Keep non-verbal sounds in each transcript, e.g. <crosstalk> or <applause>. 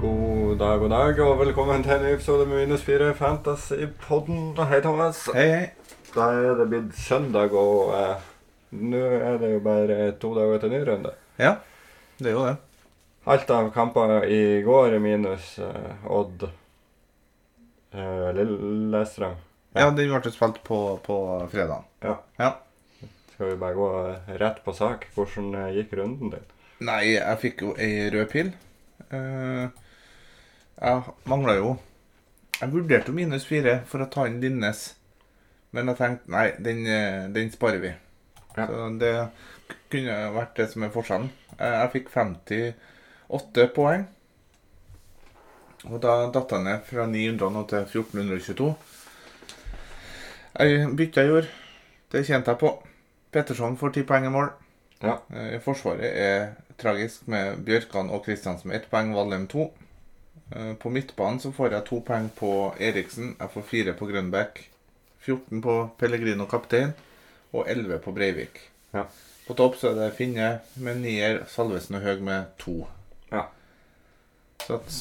God dag, god dag, og velkommen til en ny episode med Minus 4 Fantasy-podden. Hei, Thomas. Hei, hei. Da er det blitt søndag, og eh, nå er det jo bare to dager til ny runde. Ja, det er jo det. Alt av kamper i går minus eh, Odd eh, Lillestrøm. Ja. Ja, den ble spilt på, på fredagen. Skal vi bare gå eh, rett på sak? Hvordan eh, gikk runden din? Nei, jeg fikk jo ei rød pill. Eh, jeg mangla jo Jeg vurderte jo minus fire for å ta inn Linnes, men jeg tenkte nei, den, eh, den sparer vi. Ja. Så det k- kunne vært det som er forskjellen. Eh, jeg fikk 58 poeng. Og da datt jeg ned fra 900 nå til 1422. Jeg bytta jeg gjorde. Det tjente jeg på. Petterson får 10 poeng i mål. Ja. Eh, Forsvaret er tragisk med Bjørkan og Kristiansen med ett poeng, Valheim to. Eh, På midtbanen så får jeg to poeng på Eriksen, jeg får fire på Grønbæk, 14 på Pellegrino kaptein og 11 på Breivik. Ja. På topp så er det Finne med nier, Salvesen og Høg med to. Ja. Så at,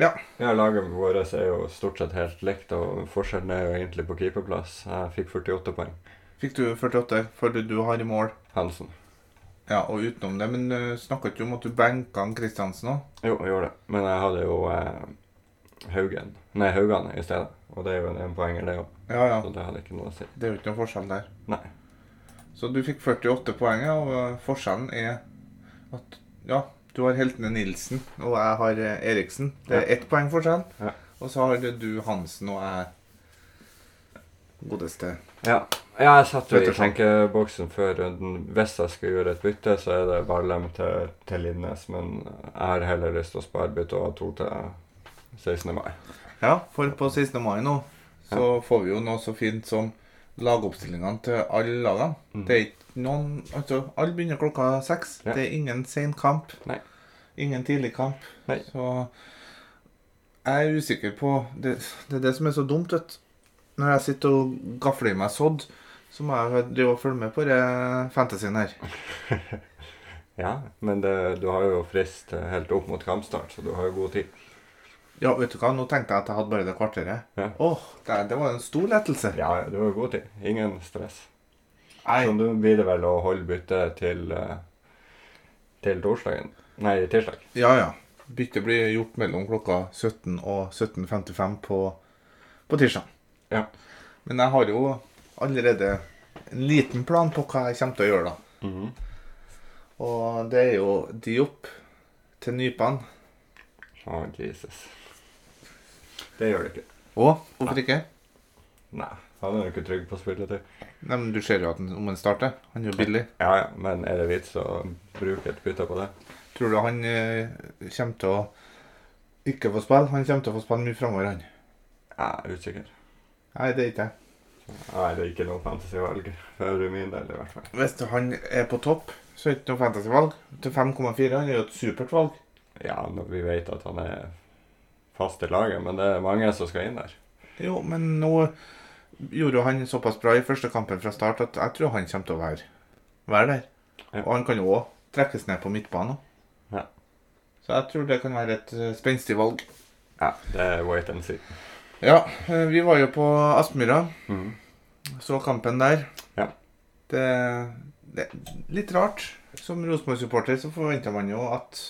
Ja, laget vårt er jo stort sett helt likt, og forskjellen er jo egentlig på keeperplass. Jeg fikk 48 poeng. fikk du 48 for det du har i mål. Hansen. Ja, og utenom det, men uh, snakket du om at du benka han Kristiansen òg? Jo, jeg gjorde det. Men jeg hadde jo eh, Haugen. Nei, Haugan i stedet. Og det er jo en- en poenger, det òg. Ja, ja. Så det hadde ikke noe å si. Det er jo ikke noen forskjell der. Nei. Så du fikk 48 poeng, ja, og eh, forskjellen er at ja, du har heltene Nilsen, og jeg har eh, Eriksen. Det er ett poeng forskjell. Ja. Og så har du Hansen, og jeg godeste. Ja. ja, jeg satt jo i Petterson. tenkeboksen før runden. Hvis jeg skulle gjøre et bytte, så er det Valheim til, til Lindnes. Men jeg har heller lyst til å spare bytte og ha to til 16. mai. Ja, for på 16. mai nå så får vi jo noe så fint som lagoppstillingene til alle lagene. Mm. Det er ikke noen Altså, alle begynner klokka seks. Ja. Det er ingen sen kamp. Nei. Ingen tidlig kamp. Nei. Så jeg er usikker på Det, det er det som er så dumt, vet du. Når jeg sitter og gafler i meg sådd, så må jeg drive og følge med på det fantasyen her. Ja, men det, du har jo frist eh, helt opp mot kampstart, så du har jo god tid. Ja, vet du hva, nå tenkte jeg at jeg hadde bare det kvarteret. Åh, Ja. det, det var en stor lettelse. Ja, du har god tid. Ingen stress. Nei, Så nå blir det vel å holde byttet til, eh, til torsdagen. Nei, tirsdag. Ja, ja. Byttet blir gjort mellom klokka 17 og 17.55 på, på tirsdag. Ja. Men jeg har jo allerede en liten plan på hva jeg kommer til å gjøre, da. Mhm. Og det er jo Diop til Nypan. Å, Jesus. Det gjør det ikke. Og hvorfor ikke? Nei, han er jo ikke trygg på spilletid. Nei, men Du ser jo at han, om han starter. Han er jo billig. Ja, ja, men er det vits å bruke et bytte på det? Tror du han eh, kommer til å ikke få spille? Han kommer til å få spille mye framover, han. Jeg er usikker. Nei, det er ikke jeg. Nei, det er ikke noe fantasyvalg. For min del, i hvert fall. Hvis han er på topp, så er det ikke noe fantasyvalg. Til 5,4 han er jo et supert valg. Ja, når vi vet at han er fast i laget, men det er mange som skal inn der. Jo, men nå gjorde jo han såpass bra i første kampen fra start at jeg tror han kommer til å være, være der. Ja. Og han kan jo òg trekkes ned på midtbanen. Ja. Så jeg tror det kan være et eh, spenstig valg. Ja, det er wait and see. Ja, eh, vi var jo på Aspmyra, Mhm. så kampen der. Ja. Det, det er litt rart. Som Rosenborg-supporter så forventa man jo at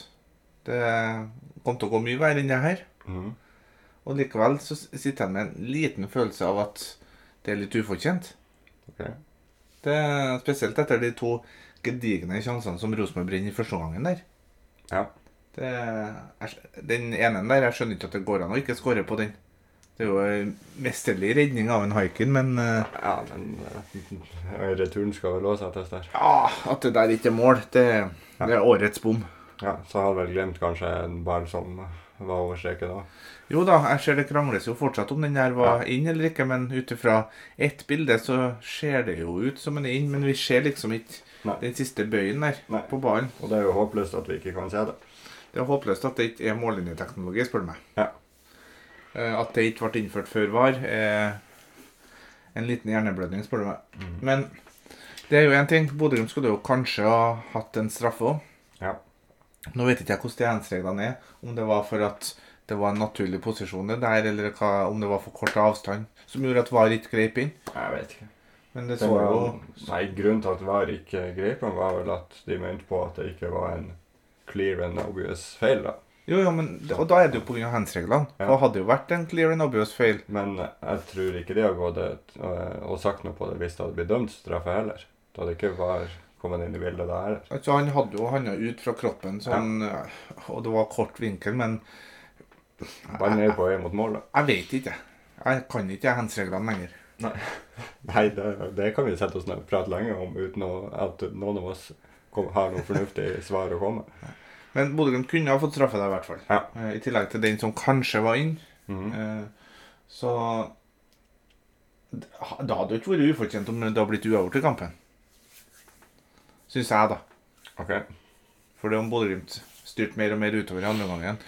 det kom til å gå mye verre enn det her. Mhm. Og likevel så s- sitter jeg med en liten følelse av at det er litt ufortjent. Ok. Det er Spesielt etter de to gedigne sjansene som Rosenborg brenner i første omgangen der. Ja. Det, jeg skj- den ene der, jeg skjønner ikke at det går an å ikke skåre på den. Det er jo en mesterlig redning av en haiken, men eh, Ja, den eh, returen skal vel også settes der. ah, at det der ikke er mål, det, det er årets bom. Ja, så har vel glemt kanskje en ball som var over streken da. Jo da, jeg ser det krangles jo fortsatt om den her var inn eller ikke, men ut ifra ett bilde så ser det jo ut som den er inn, men vi ser liksom ikke Nei. den siste bøyen der Nei. på ballen. Og det er jo håpløst at vi ikke kan se det. Det er håpløst at det ikke er mållinjeteknologi, spør du meg. Ja. Eh, At det ikke ble innført før var, er en liten hjerneblødning, spør du meg. Mhm. Men det er jo én ting. Bodø-Glimt skulle jo kanskje ha hatt en straffe òg. Ja. Nå vet ikke jeg hvordan de hands-reglene er, om det var for at det var en naturlig posisjon det der, eller hva, om det var for kort avstand, som gjorde at VAR ikke grep inn. Jeg vet ikke. Men det Det så var, jo nei, grunnen til at VAR ikke grep ham, var vel at de mente på at det ikke var en clear and obvious feil, da. Jo, jo, men, Og da er det jo pga. hands-reglene. Ja. Og hadde det jo vært en clear and obvious feil. Men jeg tror ikke de har gått et, øh, og sagt noe på det hvis det hadde blitt dømt straffe heller. Da hadde ikke VAR kommet inn i bildet da heller. Altså, Han hadde jo handa ut fra kroppen, sånn, og det var kort vinkel, men Ballen er jo på vei mot mål, da. jeg vet ikke. Jeg kan ikke hands-reglene lenger. Nei, det, det kan vi sette oss ned og prate lenge om uten å, at noen av oss kom, har noe fornuftig svar å komme med. Men Bodø-Glimt kunne ha fått straffe der, i hvert fall. Ja. Eh, I tillegg til den som kanskje var inn. Mhm. Eh, Så det det hadde jo ikke vært ufortjent om det hadde blitt uavgjort i kampen. Syns jeg, da. Ok. For det om Bodø-Glimt styrte mer og mer utover i andre omgangen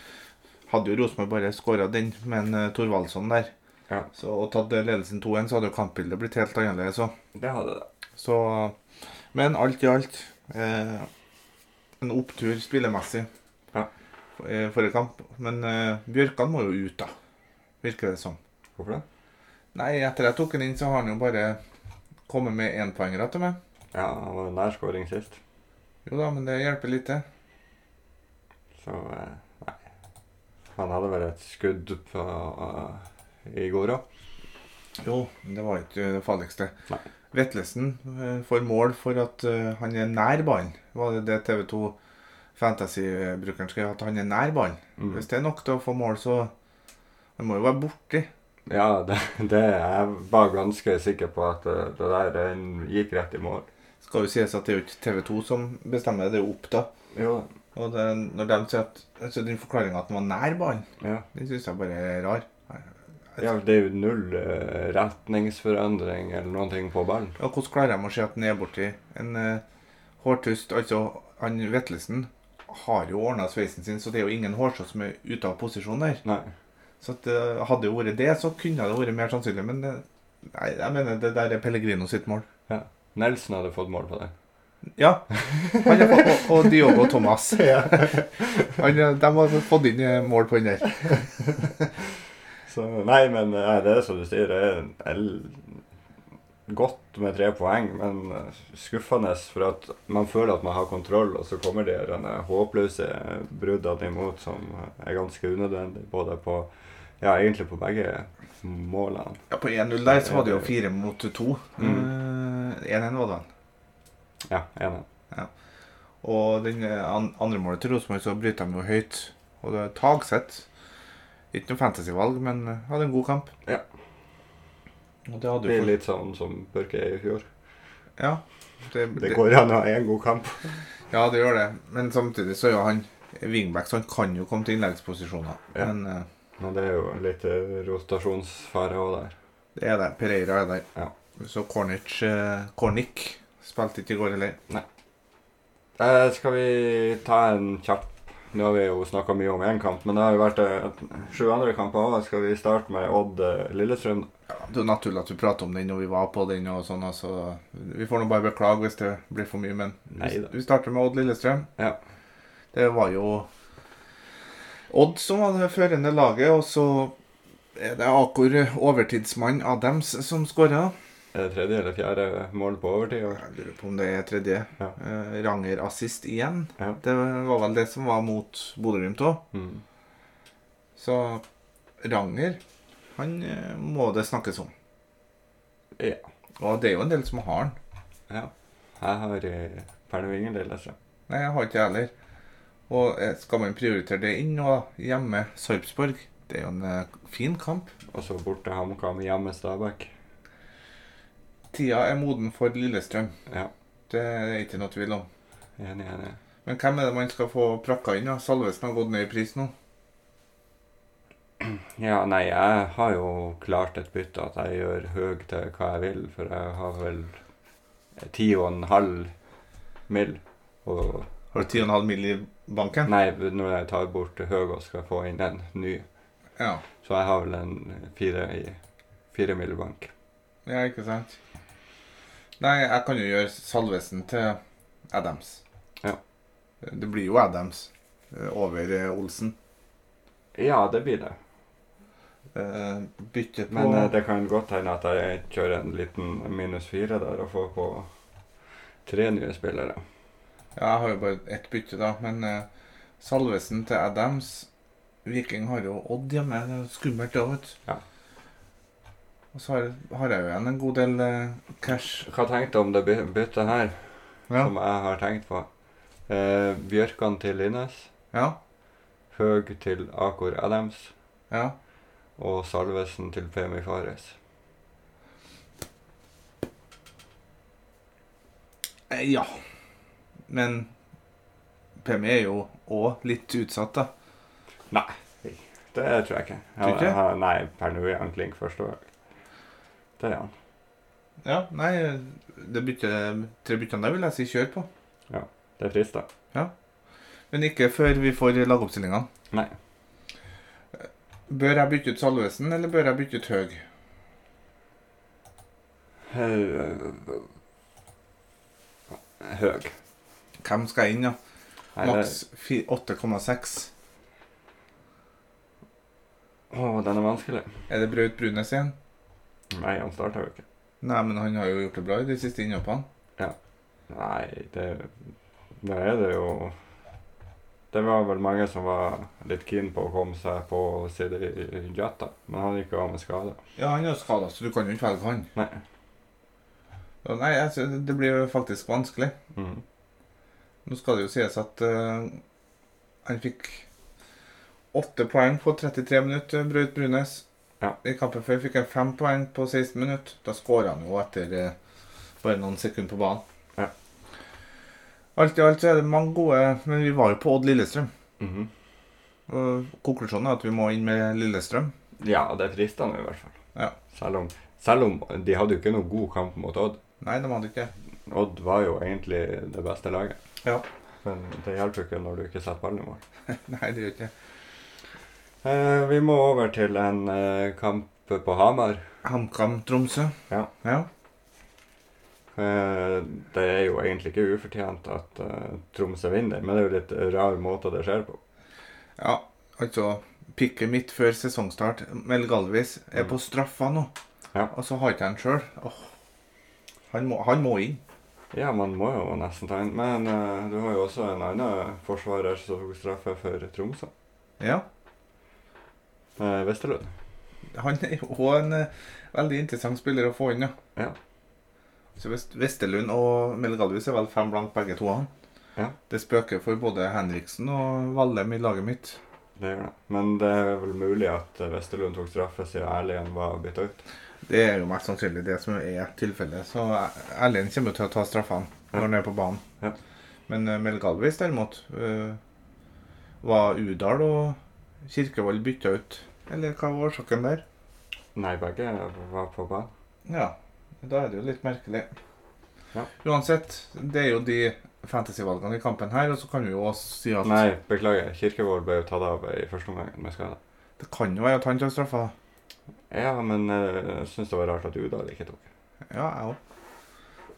Hadde jo Rosenborg bare skåra den, men eh, Thorvaldsson der Ja. så, og tatt ledelsen 2-1, så hadde jo kampbildet blitt helt annerledes òg. Det hadde det. Så Men alt i alt eh, en opptur spillemessig Ja. for- eh, forrige kamp. Men eh, Bjørkan må jo ut, da, virker det som. Hvorfor det? Nei, etter jeg tok han inn, så har han jo bare kommet med énpoengere til meg. Ja, han var nær scoring sist, Jo da, men det hjelper lite. så eh, nei. Han hadde vel et skudd på, eh, i går òg. Jo, men det var ikke det farligste. Nei. Vetlesen eh, får mål for at eh, han er nær ballen. Var det det TV2 Fantasy-brukeren skrev? At han er nær ballen. Mm. Hvis det er nok til å få mål, så Han må jo være borti. Ja, det, det jeg var ganske sikker på at eh, det der den gikk rett i mål. Skal jo sies at det er jo ikke TV2 som bestemmer, det er jo Oppda. Jo da. Og det, når de sier at altså Den forklaringa at han var nær ballen, Ja. den syns jeg bare er rar. ja, det er jo null eh, retningsforandring eller noen ting på ballen. Og hvordan klarer de å se at han er borti en eh, hårtust? Altså, han Vetlesen har jo ordna sveisen sin, så det er jo ingen hårsår som er ute av posisjon der. Nei. Så at, eh, hadde det vært det, så kunne det vært mer sannsynlig. Men eh, nei, jeg mener det der er Pellegrino sitt mål. Nelson hadde fått mål på det. Ja. Han har fått, og, og Diogo Thomas. Han, eh, de har fått inn eh, mål på den der. Så, nei, men eh, det er som du sier, det er el- godt med tre poeng, men eh, skuffende for at man føler at man har kontroll, og så kommer de denne håpløse bruddene imot som er ganske unødvendig, både på ja, egentlig på begge målene. Ja, på 1-0 der så var det jo fire mot to. Mm. Eh, 1-1 var det vel. Ja, enig. Og den eh, an- andre målet til Rosenborg, så bryter de jo høyt. Og det er Tagseth. Ikke noe fantasyvalg, men eh, hadde en god kamp. Ja. Og det hadde Det jo er for... litt sånn som Børke er i fjor. Ja. Det, Det det- går an å ha én god kamp. ja, det gjør det. Men samtidig så er jo han wingback, så han kan jo komme til innleggsposisjoner. Ja. Men eh, Men det er jo litt eh, rotasjonsfare òg der. det er det. Pereira er der. Ja. Så Cornic eh, Cornic spilte ikke i går heller. Eh, skal vi ta en kjapp Nå har vi jo snakka mye om én kamp, men det har jo vært eh, sju andre kamper òg. Skal vi starte med Odd eh, Lillestrøm? Ja, det er jo naturlig at vi prater om den når vi var på den og sånn, altså. Vi får nå bare beklage hvis det blir for mye, men vi, Neida. vi starter med Odd Lillestrøm. Ja. Det var jo Odd som var det førende laget, og så er det Akor overtidsmann Adams som skåra. Er det eh, tredje eller fjerde mål på overtid? og- Jeg lurer på om det er tredje. Ja. Eh, Ranger assist igjen. Ja. Det var vel det som var mot Bodø-Glimt òg. Mm. Så Ranger, han eh, må det snakkes om. Ja. Og det er jo en del som har han. ja. Jeg har eh, Pernevingen Lillestrøm. Nei, jeg har ikke jeg heller. Og eh, skal man prioritere det inn nå, da? hjemme Sarpsborg? Det er jo en eh, fin kamp. Og så borte HamKam, hjemme Stabæk. Tida er moden for Lillestrøm. Ja, Det er ikke noe tvil om. enig, enig. Men hvem er det man skal få prakka inn? da? Salvesen har gått ned i pris nå. Ja, nei, jeg har jo klart et bytte at jeg gjør høy til hva jeg vil, for jeg har vel eh, ti og en halv mill. Og Har du 10,5 mill. i banken? Nei, når jeg tar bort Høgo skal jeg få inn en ny. Ja. Så jeg har vel en eh, fire i fire millibank. ja, ikke sant? Nei, jeg kan jo gjøre Salvesen til Adams. Ja. Det blir jo Adams eh, over eh, Olsen. Ja, det blir det. Eh, bytte på Men eh, det kan godt hende at jeg kjører en liten minus fire der og får på tre nye spillere. Ja, jeg har jo bare ett bytte, da. Men eh, Salvesen til Adams Viking har jo Odd hjemme. Det er jo skummelt, det òg, vet du. Ja. Og så har, har jeg jo igjen en god del eh, cash. Hva tenkte du om det by- byttet her, som jeg har tenkt på? Eh, Bjørkan til Linnes, Ja. Høg til Akor Adams ja. og Salvesen til Femi Fares. Eh, ja. Men Pemi er jo òg litt utsatt, da. Det tror jeg ikke. Tror ikke? Jeg- jeg- Nei, per nå er han klink førstevalg. Det er han. Ja, nei, det bytte, tre byttene der vil jeg si kjør på. Det er trist, da. Men ikke før vi får lagoppstillingene. Eh, Nei. Bør jeg bytte ut Salvesen, eller bør jeg bytte ut Høg? Høg. Høg. Hvem skal inn, da? Nei, det- Maks fi- 8,6. Å, den er vanskelig. Er det Braut Brunes igjen? Nei, han starta jo ikke. Nei, men han har jo gjort det bra i de siste innhoppene. Nei, det Da er det jo Det var vel mange som var litt keen på å komme seg på CD Jata, men han gikk jo av med skade. Ja, han er jo skada, så du kan jo ikke velge han. Nei. Ja, Nei, jeg synes det blir jo faktisk vanskelig. Mhm. Nå skal det jo sies at eh, han fikk åtte poeng på 33 minutter, Braut Brunes. Ja. I kampen før fikk han fem poeng på 16 minutter. Da skåra han jo etter eh, bare noen sekunder på banen. Ja. Alt i alt så er det mange gode Men vi var jo på Odd Lillestrøm. Mhm. Og konklusjonen er at vi må inn med Lillestrøm. Ja, det frista nå i hvert fall. Ja. Selv, om, selv om de hadde jo ikke noe god kamp mot Odd. Nei, de hadde ikke Odd var jo egentlig det beste laget. Ja. Men det hjelper jo ikke når du ikke setter ballen i mål. Nei, det gjør ikke Eh, vi må over til en eh, kamp på Hamar. HamKam Tromsø. Ja. ja. Eh, Det er jo egentlig ikke ufortjent at eh, Tromsø vinner, men det er jo litt rar måte det skjer på. Ja, altså Pikket mitt før sesongstart, Mel Galvis, er Mm. på straffa nå. Ja. Og så har ikke han sjøl. Åh. Han, må- han må inn. Ja, man må jo nesten ta inn, men eh, du har jo også en annen forsvarer som tok straffe for Tromsø. Ja. Eh, Vesterlund. Han er jo også en eh, veldig interessant spiller å få inn, ja. Ja. Så Vest Vesterlund og Mel Galvis er vel fem blank begge to. han. Ja. Det spøker for både Henriksen og Vallem i laget mitt. Det gjør det. Men det er vel mulig at eh, Vesterlund tok straffe siden Erlien var bytta ut. Det er jo mest sannsynlig det som er tilfellet. Så Erlend kommer jo til å ta straffene når han er på banen. Ja. Men eh, Mel Galvis derimot eh, Var Udal og Kirkevold bytta ut? Eller hva var årsaken der? Nei, begge var på banen. Ja, da er det jo litt merkelig. Ja. Uansett, det er jo de fantasyvalgene i kampen her, og så kan vi jo også si at Nei, beklager. Kirkevold ble jo tatt av i første omgang med skade. det kan jo være at han tar straffa. Ja, men eh, jeg syns det var rart at Udal ikke tok. Ja, jeg òg.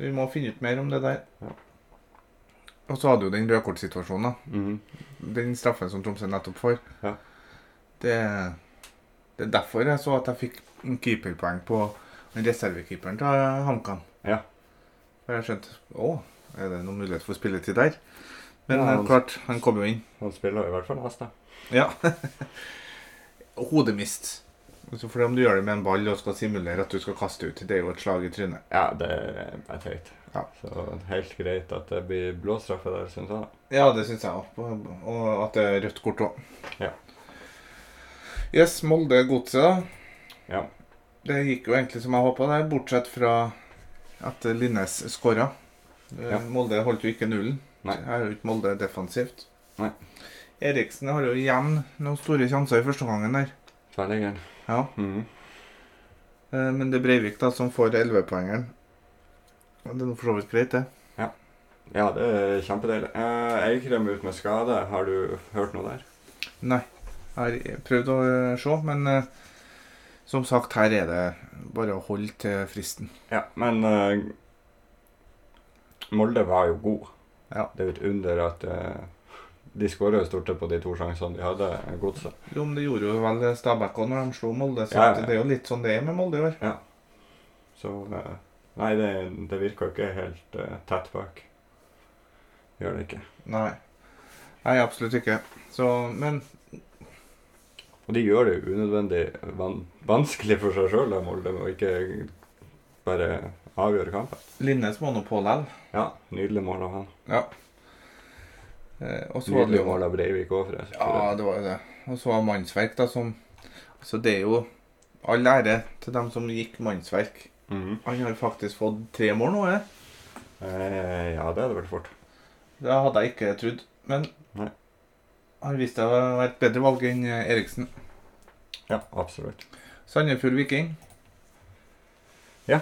Vi må finne ut mer om det der. Ja. Og så hadde jo den rødkortsituasjonen, da. Mhm. den straffen som Tromsø nettopp får. Ja. Det, det er derfor jeg så at jeg fikk en keeperpoeng på den reservekeeperen til HamKam. Ja. For jeg skjønte Å, er det noen mulighet for spilletid der? Men Ja, altså. eh, han- klart, han kom jo inn. Han spiller i hvert fall neste. Ja. Hodemist. Så for Altså, om du gjør det med en ball og skal simulere at du skal kaste ut, det er jo et slag i trynet. Ja, det er teit. Ja. Så helt greit at det blir blå straffe der, syns jeg. Ja, det syns jeg òg. Og at det er rødt kort òg. Ja. Yes, Molde-godset, da. Ja. Det gikk jo egentlig som jeg håpa, bortsett fra at Linnes skåra. Ja. Molde holdt jo ikke nullen. Nei. Her er jo ikke Molde defensivt. Nei. Eriksen har jo igjen noen store sjanser i første omgangen der. Tverrliggeren. Ja. Mhm. Eh, Men det er Breivik da som får 11-poengeren. Og Det er nå for så vidt greit, det. Ja, det er kjempedeilig. Eh, Eikrem ut med skade. Har du hørt noe der? Nei. Jeg har prøvd å eh, se, men eh, som sagt, her er det bare å holde til fristen. Ja, men eh, Molde var jo god. Ja. Det er jo et under at eh, De skåra jo stort sett på de to sjansene de hadde, eh, Godset. Jo, men det gjorde jo vel Stabæk òg når de slo Molde, så Ja, ja. at det er jo litt sånn det er med Molde i år. Så eh, Nei, det, det virka ikke helt eh, tett bak. Gjør det ikke. Nei. Nei, absolutt ikke. Så, men Og de gjør det jo unødvendig van vanskelig for seg sjøl, Molde, med å ikke bare avgjøre kampen. Linnes monopol likevel. Ja, nydelig mål av han. Eh, og så var det Nydelig jo mål av Breivik òg, forresten. Ja, det var jo det. Og så var mannsverk, da, som Så det er jo all ære til dem som gikk mannsverk. Mhm. Han har faktisk fått tre mål nå, jeg. eh, ja, det hadde vært fort. Det hadde jeg ikke trodd. Men Nei. han viste seg å være et bedre valg enn eh, Eriksen. Ja, absolutt. Sandefjord Viking. Ja.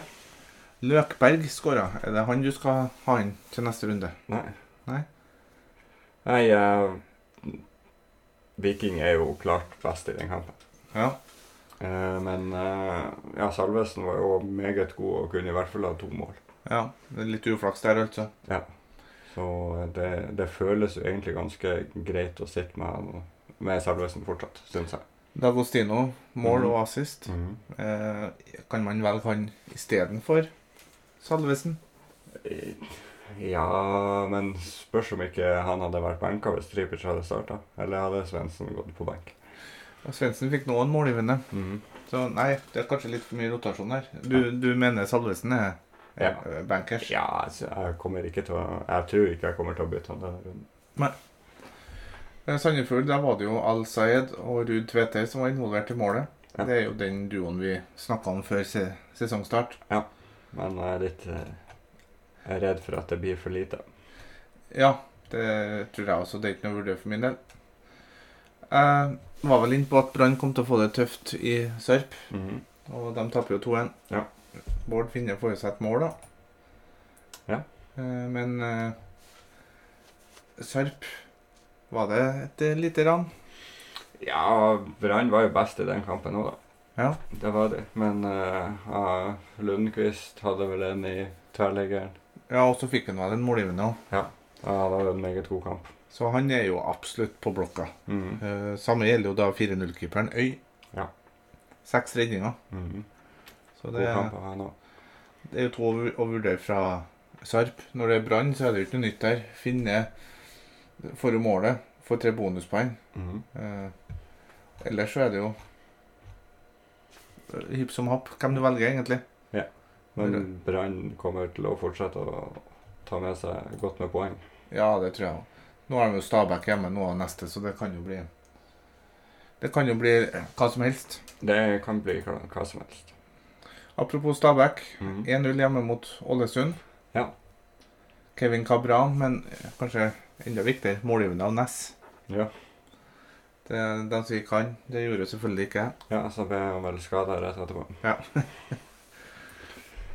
Løkberg skåra. Er det han du skal ha inn til neste runde? Nei. Nei. Nei, eh, Viking er jo klart best i den kampen. Ja. Eh, men eh, ja, Salvesen var jo meget god og kunne i hvert fall ha to mål. ja. Det er litt uflaks der, altså. Så det, det føles jo egentlig ganske greit å sitte med, han- med Salvesen fortsatt, syns jeg. Dagostino, mål Mhm. og assist. Eh, kan man velge han istedenfor Salvesen? Eh, Ja, men spørs om ikke han hadde vært benka hvis Tripic hadde starta. Eller hadde Svendsen gått på benk. Og Svendsen fikk nå en målgivende. Så nei, det er kanskje litt for mye rotasjon her. Du, du mener Salvesen er, er bankers? Ja, altså, jeg kommer ikke til å Jeg tror ikke jeg kommer til å bytte han denne runden. Eh, Sandefjord, der var det jo Al Sayed og Ruud Tveter som var involvert i målet. Ja. Det er jo den duoen vi snakka om før se sesongstart. Men jeg er litt eh, jeg er redd for at det blir for lite. Ja, det tror jeg også. Det er ikke noe å vurdere for min del. Jeg var vel inne på at Brann kom til å få det tøft i Sarp. Og de tapper jo 2-1. Ja. Bård Finne får jo seg et mål, da. Ja. Eh, men eh, Sarp Var det et eh, lite ran? Ja, Brann var jo best i den kampen òg, da. Ja. Det var det. Men eh, ja, Lundqvist hadde vel en i tverrliggeren. Ja, og så fikk han vel en målgivende òg. Ja, det var jo en meget god kamp. Så han er jo absolutt på blokka. Mhm. Eh, samme gjelder jo da 4-0-keeperen Øy. Ja. Seks redninger. Mhm. Så God det, kamp av han òg. det er jo to å vu- å vurdere fra Sarp. Når det er Brann, så er det jo ikke noe nytt der. Finne får jo målet, får tre bonuspoeng. Mhm. Eh, ellers så er det jo eh, hipp som happ hvem du velger, egentlig. Men Brann kommer til å fortsette å ta med seg godt med poeng. Ja, det tror jeg òg. Nå har de jo Stabæk hjemme nå og neste, så det kan jo bli Det kan jo bli eh, hva som helst. Det kan bli hva, hva som helst. Apropos Stabæk. Mhm. 1-0 hjemme mot Ålesund. Ja. Kevin Cabra, men eh, kanskje enda viktigere, målgivende av Ness. Ja. Det, de som ikke kan. Det gjorde jo selvfølgelig ikke jeg. Ja, så ble han vel skada rett etterpå.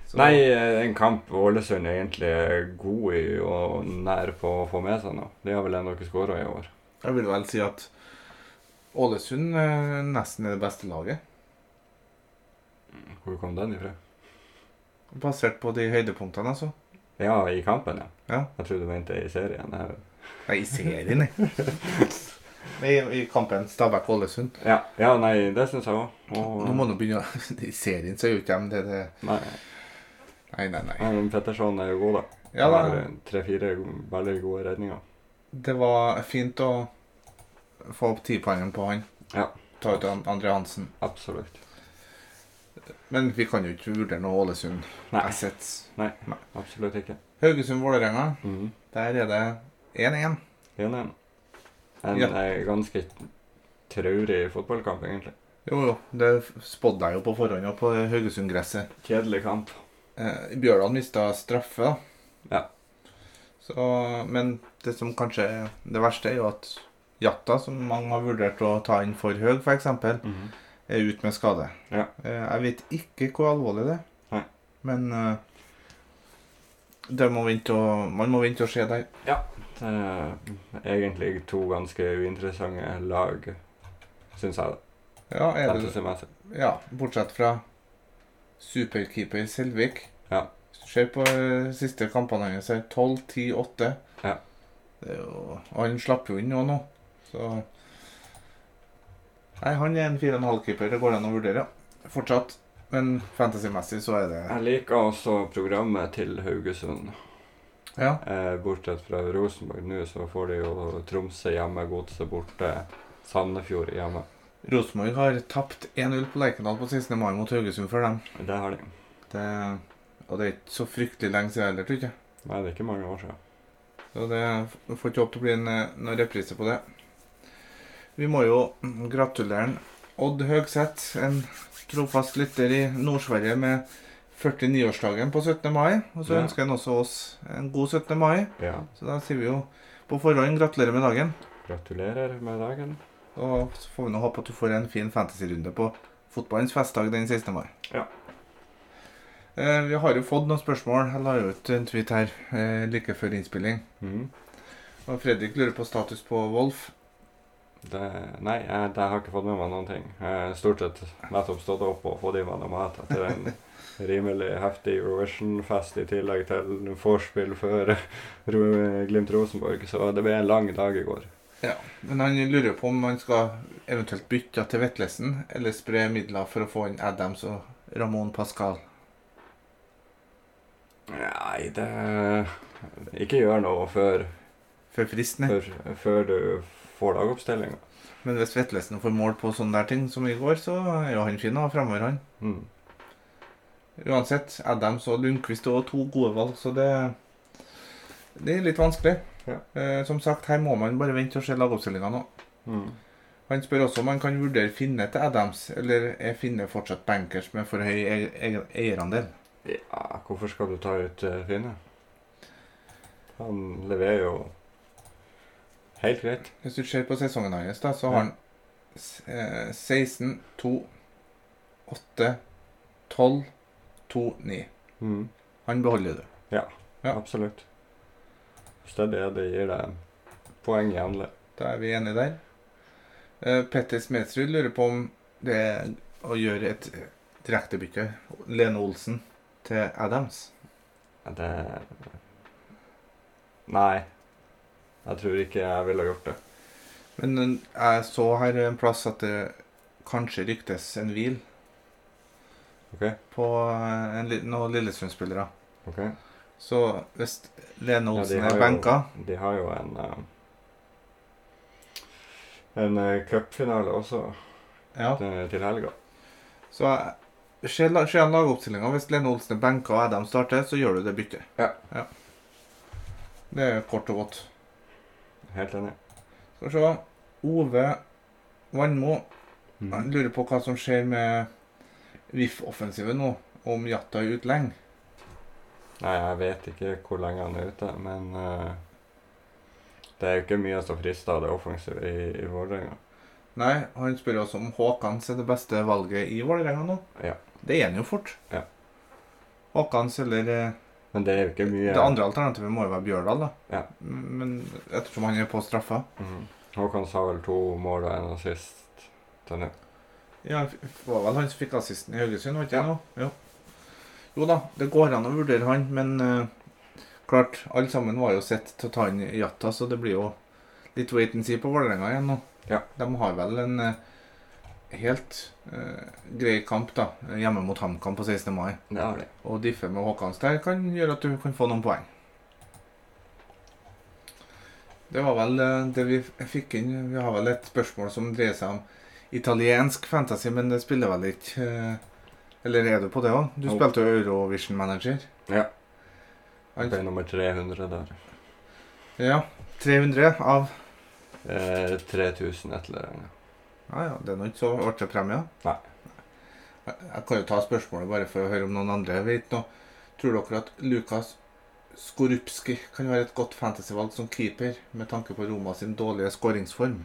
Så- Nei, eh, en kamp Ålesund er egentlig er god i og nær på å få med seg nå. De har vel ennå ikke skåra i år. Jeg vil vel si at Ålesund eh, nesten er det beste laget. Hvor kom den ifra? Basert på de høydepunktene, altså. Ja, i kampen, ja. Ja. Jeg trodde du mente i serien. Jeg- Nei, i serien, <laughs> jeg. Nei, i kampen Stabæk-Ålesund. Ja, ja nei, det syns jeg òg. Og Nå må du begynne å <laughs> I serien så er jo ikke de det, det Nei, Nei, nei, nei. nei, men Petterson er jo god, da. Ja da. Har tre-fire go- veldig gode redninger. Det var fint å få opp tipoengen på han. Ja. Ta ut han- Andre Hansen. Absolutt. Men vi kan jo ikke vurdere noe Ålesund. Nei, Assets. absolutt ikke. Haugesund-Vålerenga. Mhm. Der er det 1-1. 1-1. En Ja. eh, ganske traurig fotballkamp, egentlig. Jo, jo. Det spådde jeg jo på forhånd og på Haugesund-gresset. Kjedelig kamp. Eh, Bjørdal mista straffe, da. Ja. Så, men det som kanskje er det verste, er jo at Jatta, som mange har vurdert å ta inn for høy, f.eks., Mhm. er ute med skade. Ja. Eh, jeg vet ikke hvor alvorlig det er, Nei. men eh, det må vente og, man må vente og se der. Det er Eh, egentlig to ganske uinteressante lag, syns jeg. Ja, er det, Fantasy-messig. ja, bortsett fra superkeeper Selvik. Ja. Hvis du ser på eh, siste kampene hans her, 12-10-8. Ja. Det er jo, og han slapp jo inn òg nå, så Nei, han er en 4,5-keeper. Det går an å vurdere fortsatt. Men fantasymessig så er det Jeg liker også programmet til Haugesund. Ja. Eh, bortsett fra Rosenborg nå, så får de jo Tromsø hjemme, Godset borte, Sandefjord hjemme. Rosenborg har tapt 1-0 på Lerkendal på 16. mai mot Haugesund for dem. Det har de. Det, og det er ikke så fryktelig lenge siden heller, tror jeg. Nei, det er ikke mange år siden. Så det jeg får ikke håpe til å bli en, eh, noen reprise på det. Vi må jo gratulere en Odd Høgseth, en trofast lytter i Nord-Sverige med 49-årsdagen på 17. mai. Og så Ja. ønsker han også oss en god 17. mai. Ja. Så da sier vi jo på forhånd gratulerer med dagen. Gratulerer med dagen. Og så får vi nå håpe at du får en fin fantasyrunde på fotballens festdag den 16. mai. Ja. Eh, Vi har jo fått noen spørsmål. Jeg la jo ut en tweet her eh, like før innspilling. Mhm. Og Fredrik lurer på status på Wolf. Det, nei, jeg, det har ikke fått med meg noen ting. Jeg har stort sett nettopp stått opp og fått i meg noe mat etter en rimelig heftig Eurovision-fest i tillegg til vorspiel før Ro- Glimt Rosenborg, så det ble en lang dag i går. Men han lurer på om han skal eventuelt bytte til Vetlesen, eller spre midler for å få inn Adams og Ramón Pascal. Nei, det Ikke gjør noe før, Før fristen er. før, før du får lagoppstillinga. Men hvis Vetlesen får mål på sånne der ting som i går, så er jo han fin å ha fremover, han. Mm. Uansett, Adams og Lundqvist og to gode valg, så det, det er litt vanskelig. Ja. Eh, som sagt, her må man bare vente og se lagoppstillinga nå. Mm. Han spør også om han kan vurdere Finne til Adams, eller er Finne fortsatt bankers med for høy e e eierandel? Ja, hvorfor skal du ta ut eh, Finne? Han leverer jo helt greit. Hvis du ser på sesongen hans, da, Ja. så har han s- eh, 16, 2, 8, 12, 2, 9. Mm. Han beholder du. Ja. Absolutt. Hvis det er det det gir deg poeng jevnlig. Da er vi enige der. Eh, Petter Smedsrud lurer på om det er å gjøre et direktebytte, Lene Olsen, til Adams. Det Nei. Jeg tror ikke jeg ville gjort det. Men eh, jeg så her en plass at det kanskje ryktes en hvil OK? på eh, en, li- noen Lillestrøm-spillere. ok. Så hvis Lene Ja, de Olsen har er jo- benka De har jo en eh, En eh, cupfinale også ja. eh, til helga. Så eh, se la- se an lagoppstillinga. Hvis Lene Olsen er benka og Adam starter, så gjør du det byttet. Ja. Det er kort og godt. Helt enig. Skal vi se. Ove Vannmo Mm. Jeg lurer på hva som skjer med VIF-offensivet nå, om Jatta er ute lenge. Nei, jeg vet ikke hvor lenge han er ute, men eh, det er jo ikke mye som frister av det offensive i, i Vålerenga. Nei, han spør også om Håkans er det beste valget i Vålerenga nå. Ja. Det er han jo fort. Ja. Håkans eller eh, Men det er jo ikke mye Det andre alternativet må jo være Bjørdal, da. Ja. Men ettersom han er på straffa Mhm. Håkan sa vel to mål og en assist til nå. Ja, det var vel han som fikk assisten i Haugesund, var ikke Ja. det? nå? Jo. jo da, det går an å vurdere han, men eh, klart, alle sammen var jo sett til å ta inn Jatta, så det blir jo litt wait and see på Vålerenga igjen nå. Ja. De har vel en eh, helt eh, grei kamp da, hjemme mot HamKam på 16. mai. Det har de. Og diffe med Håkans der kan gjøre at du kan få noen poeng. Det var vel eh, det vi f- fikk inn. Vi har vel et spørsmål som dreier seg om italiensk fantasy, men det spiller vel ikke eh, Eller er du på det òg? Du Jo. spilte jo Eurovision Manager. Ja. Han- Det er nummer 300 der. ja. 300 av Eh, 3000 et eller annet. Ja ja, det er nå ikke så artig premie. Nei. Jeg jeg kan jo ta spørsmålet bare for å høre om noen andre vet noe. Tror dere at Lukas Skorupski kan være et godt fantasyvalg som keeper, med tanke på Roma sin dårlige skåringsform?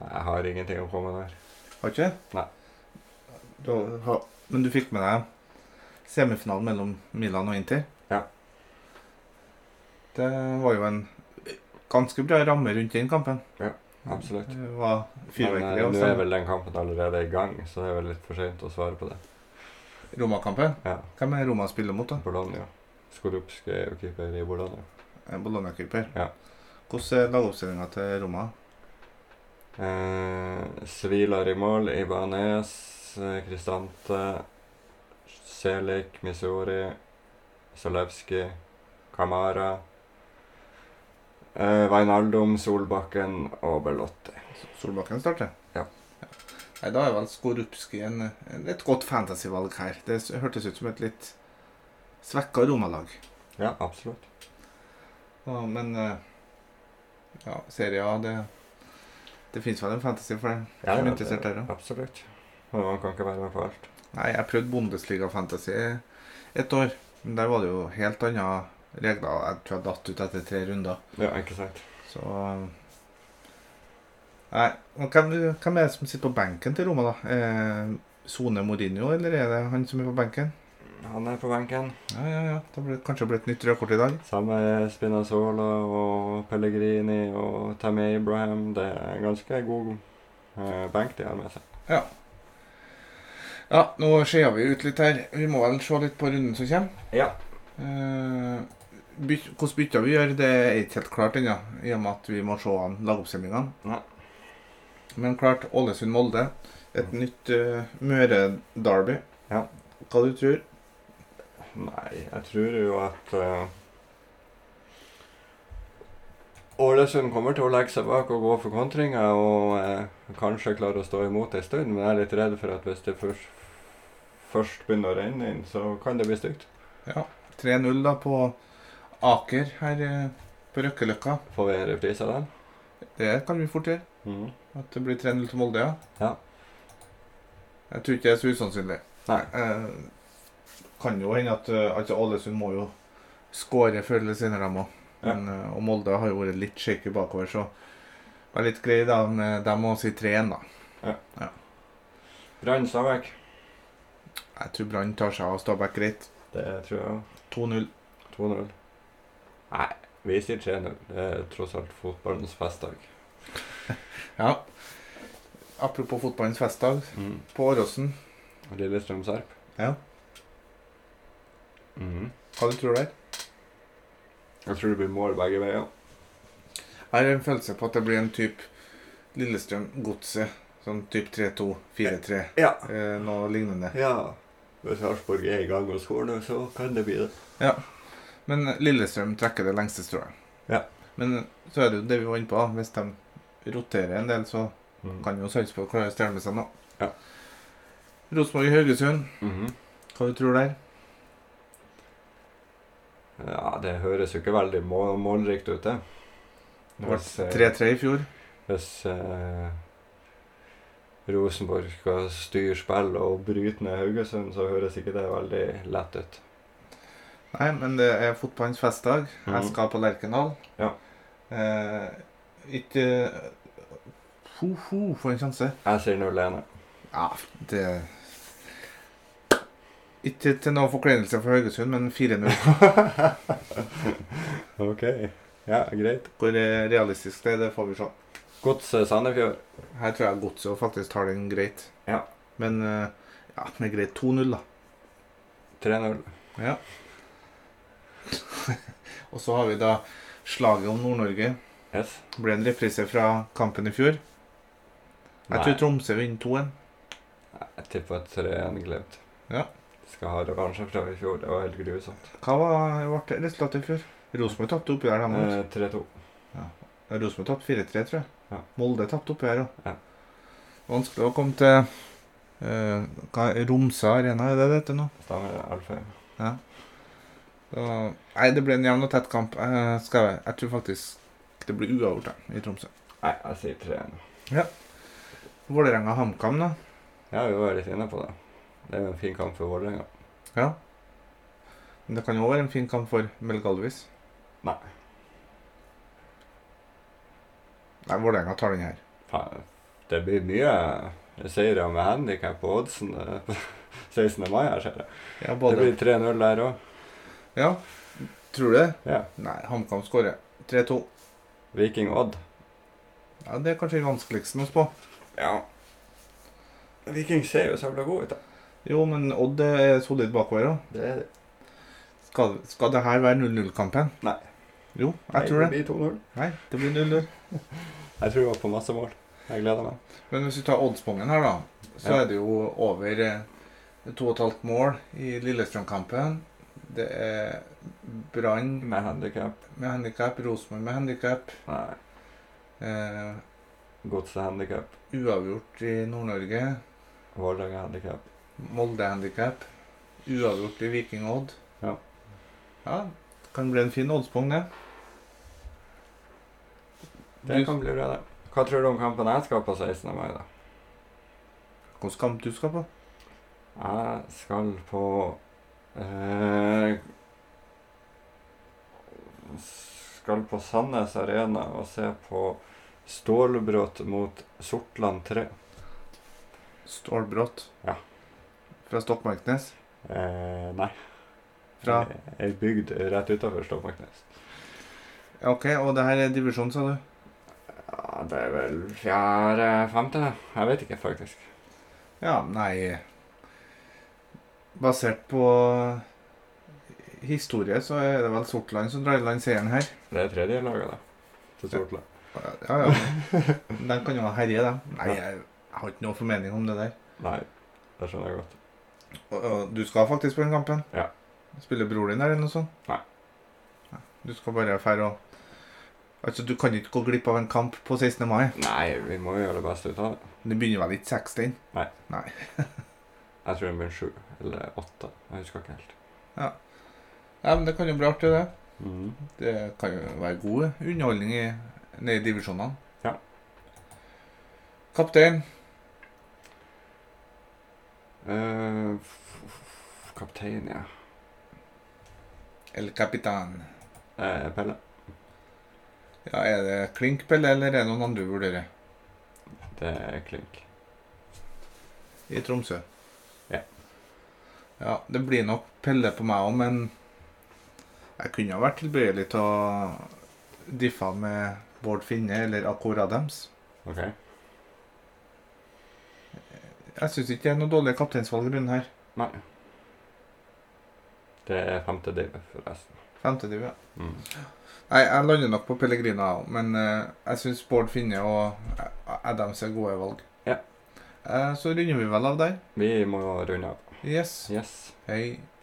Nei, Jeg har ingenting å komme der. Har ikke? Nei. Da, ha, men du fikk med deg semifinalen mellom Milan og Inter? Ja. Det var jo en ganske bra ramme rundt den kampen. Absolutt. Det var Men eh, fyrverkeri og nå er sånn. vel den kampen allerede i gang, så det er vel litt for sent å svare på det. Roma-kampen. Ja. Hvem er Roma spiller mot, da? Bologna. Skorupskij er jo keeper i Bologna. En Bologna-keeper. Ja. Hvordan er lagoppstillinga til Roma? Eh, Svilar i mål, Ibanez, eh, Kristante, Selik, Missouri, Zalewski, Kamara, eh, Wijnaldum, Solbakken og Berlotti. Solbakken starter? Ja. Nei, da er vel Skorupski en, en, et godt fantasyvalg her. Det s- hørtes ut som et litt svekka Roma-lag. Ja, absolutt. Ja, men eh, ja, Serie A, det, det fins vel en fantasy for deg Ja, ja, som er interessert der òg? Absolutt. Men man kan ikke være med på alt. Nei, jeg prøvde Bundesliga-fantasy et år. Men der var det jo helt andre regler. Jeg tror jeg datt ut etter tre runder. Ja, ikke sant. Så eh, Nei. Og hvem, hvem er det som sitter på benken til Roma, da? Eh, Sone Mourinho, eller er det han som er på benken? Han er på benken. Ja, ja, ja. Da blir det kanskje blitt nytt rødkort i dag. Samme er Spinazzola og Pellegrini og Tammy Abraham. Det er en ganske god eh, benk de har med seg. Ja, nå skeier vi ut litt her. Vi må vel se litt på runden som kommer. Ja. Eh, byt, hvordan bytter vi gjør, det er ikke helt klart ennå, i og med at vi må se an lagoppstillingene. Nei. Men klart Ålesund-Molde. Et nytt eh, Møre-derby. Ja. Hva du tror? Nei, jeg tror jo at eh, Ålesund kommer til å legge seg bak og gå for kontringer og eh, kanskje klare å stå imot en stund, men jeg er litt redd for at hvis det først, først begynner å renne inn, så kan det bli stygt. Ja, 3-0 da på Aker her eh, på Røkkeløkka. Får vi en reprise av den? Det kan vi fort gjøre. Mhm. At det blir 3-0 til Molde, ja. Ja. Jeg tror ikke det er så usannsynlig. Nei. Eh, kan jo hende at eh, altså Ålesund må jo skåre før eller senere, de òg. Ja. eh, Og Molde har jo vært litt shaky bakover, så vær litt grei, da. men De må si 3-1, da. Brann Stabæk. Jeg tror Brann tar seg av Stabæk greit. Det tror jeg 2-0. 2-0. Nei, vi sier 3-0. Det er tross alt fotballens festdag. Ja. Apropos fotballens festdag. Mm. På Åråsen, Lillestrøm Sarp. Ja. Mhm. hva du tror du der? Jeg tror det blir mål begge veier. Jeg har en følelse på at det blir en type Lillestrøm-godset. Sånn type 3-2, 4-3, Ja. eh, noe lignende. Ja. Hvis Sarpsborg er i gang med skolen, så kan det bli det. Men Lillestrøm trekker det lengste strået. Ja. Men så er det jo det vi var inne på. da. Hvis de roterer en del, så Mm. kan jo Sarpsborg klare å stjele med seg noe. Ja. Rosenborg-Haugesund, Mhm. hva du tror du der? Ja, det høres jo ikke veldig mål målrikt ut, det. Det ble Hvis, eh, 3-3 i fjor. Hvis eh, Rosenborg skal styre spill og bryte ned Haugesund, så høres ikke det veldig lett ut. Nei, men det er fotballens festdag. Jeg Mhm. skal på Lerkendal. Ja. Eh, ikke Ho-ho, for en sjanse. Jeg sier 0-1. Ja, det Ikke til noe forkleinelse for Haugesund, men 4-0. <laughs> OK. Ja, greit. Hvor eh, realistisk det er, det får vi se. Godset Sandefjord. Her tror jeg Godset faktisk tar den greit. Ja. Men eh, ja, med greit 2-0, da. 3-0. Ja. Og så har vi da slaget om Nord-Norge. Yes. Det Ble en reprise fra kampen i fjor. Jeg tror Tromsø vinner 2-1. Jeg tipper at 3-1 Glimt. Ja. Skal ha revansje fra i fjor. Det var helt grusomt. Hva var ble resultatet i fjor? Rosenborg tapte oppi der. dem også. Eh, 3-2. Ja, Rosenborg tapte 4-3, tror jeg. Ja. Molde tapte oppi her òg. Ja. Vanskelig å komme til eh, hva, Romsa Arena, er det det heter nå? Stemmer det, Alfheim. Så, nei, det ble en jevn og tett kamp. Jeg, skal, jeg tror faktisk det blir uavgjort da, i Tromsø. Nei, jeg sier 3-1. Vålerenga-HamKam, da. Ja, vi var litt inne på det. Det er jo en fin kamp for Vålerenga. Ja. Men det kan jo være en fin kamp for Mel Galvis. Nei. Nei, Vålerenga tar den her. Faen, Det blir mye seire med handikap på oddsen eh, <laughs> på 16. mai her, ser jeg. Ja, Det både. blir 3-0 der òg. Ja, tror du det? Ja. Nei, HamKam skårer 3-2. Viking Odd. Ja, Det er kanskje den vanskeligste å spå. Ja. Viking ser jo så jævla god ut, da. Jo, men Odd er solid bakover òg. Det er det. Skal, skal det her være 0-0-kampen? Nei. Jo, jeg tror det. blir 2-0. Nei, det blir 0-0. Jeg tror det var på masse mål. Jeg gleder meg. Men hvis vi tar oddsbongen her, da, så Ja. er det jo over eh, to og et halvt mål i Lillestrøm-kampen. Det er Brann Med handikap. med handikap, Rosenborg med handikap. Nei. Eh, Godsehandikap. uavgjort i Nord-Norge. Vålerenga-handikap. Molde-handikap. Uavgjort i Viking-Odd. Ja. ja. det Kan bli en fin oddsbong, det. Det Du- kan bli bra, det. Hva tror du om kampen jeg skal på 16. mai, da? Hvilken kamp du skal på? Jeg skal på eh, Skal på Sandnes Arena og se på Stålbråt mot Sortland 3. Stålbrått. Ja. Fra Stokmarknes. Eh, nei. Eh, Fra Ei bygd rett utafor Stokmarknes. Ja, OK, og det her er divisjon, sa du? Ja, det er vel fjerde-femte? Jeg vet ikke, faktisk. Ja, nei Basert på historie, så er det vel Sortland som drar i land seieren her. Det er tredje laget, da. Til <laughs> Sortland. Ja, ja. De kan jo ha herje, de. Nei, jeg har ikke noe formening om det der. Nei, det skjønner jeg godt. Og, og du skal faktisk på den kampen? Ja. Spiller broren din der, eller noe sånt? Nei. Nei, Du skal bare fære og Altså, du kan ikke gå glipp av en kamp på 16. mai. Nei, vi må jo gjøre det beste ut av det. Det begynner vel ikke 16? Jeg tror det blir sju eller åtte. Jeg husker ikke helt. Ja, men det kan jo bli artig, det. Mm. Det kan jo være god underholdning i, nede i divisjonene. Ja. Kaptein. Eh, f- f- kaptein, ja. El Capitan. Eh, Pelle. Ja, er det Klink Pelle, eller er det noen andre du vurderer? Det er Klink. I Tromsø. Ja. Ja, det blir nok Pelle på meg òg, men jeg kunne ha vært tilbøyelig til å diffe med Bård Finne eller Akkor Adams. OK. Jeg syns ikke det er noe dårlige kapteinsvalg rundt her. Nei. Det er femte div, forresten. Femte div, ja. Mm. Nei, jeg lander nok på Pellegrina òg, men eh, jeg syns Bård Finne og A- Adams er gode valg. Ja. Eh, så runder vi vel av der. Vi må runde av. Yes. Yes. Hei.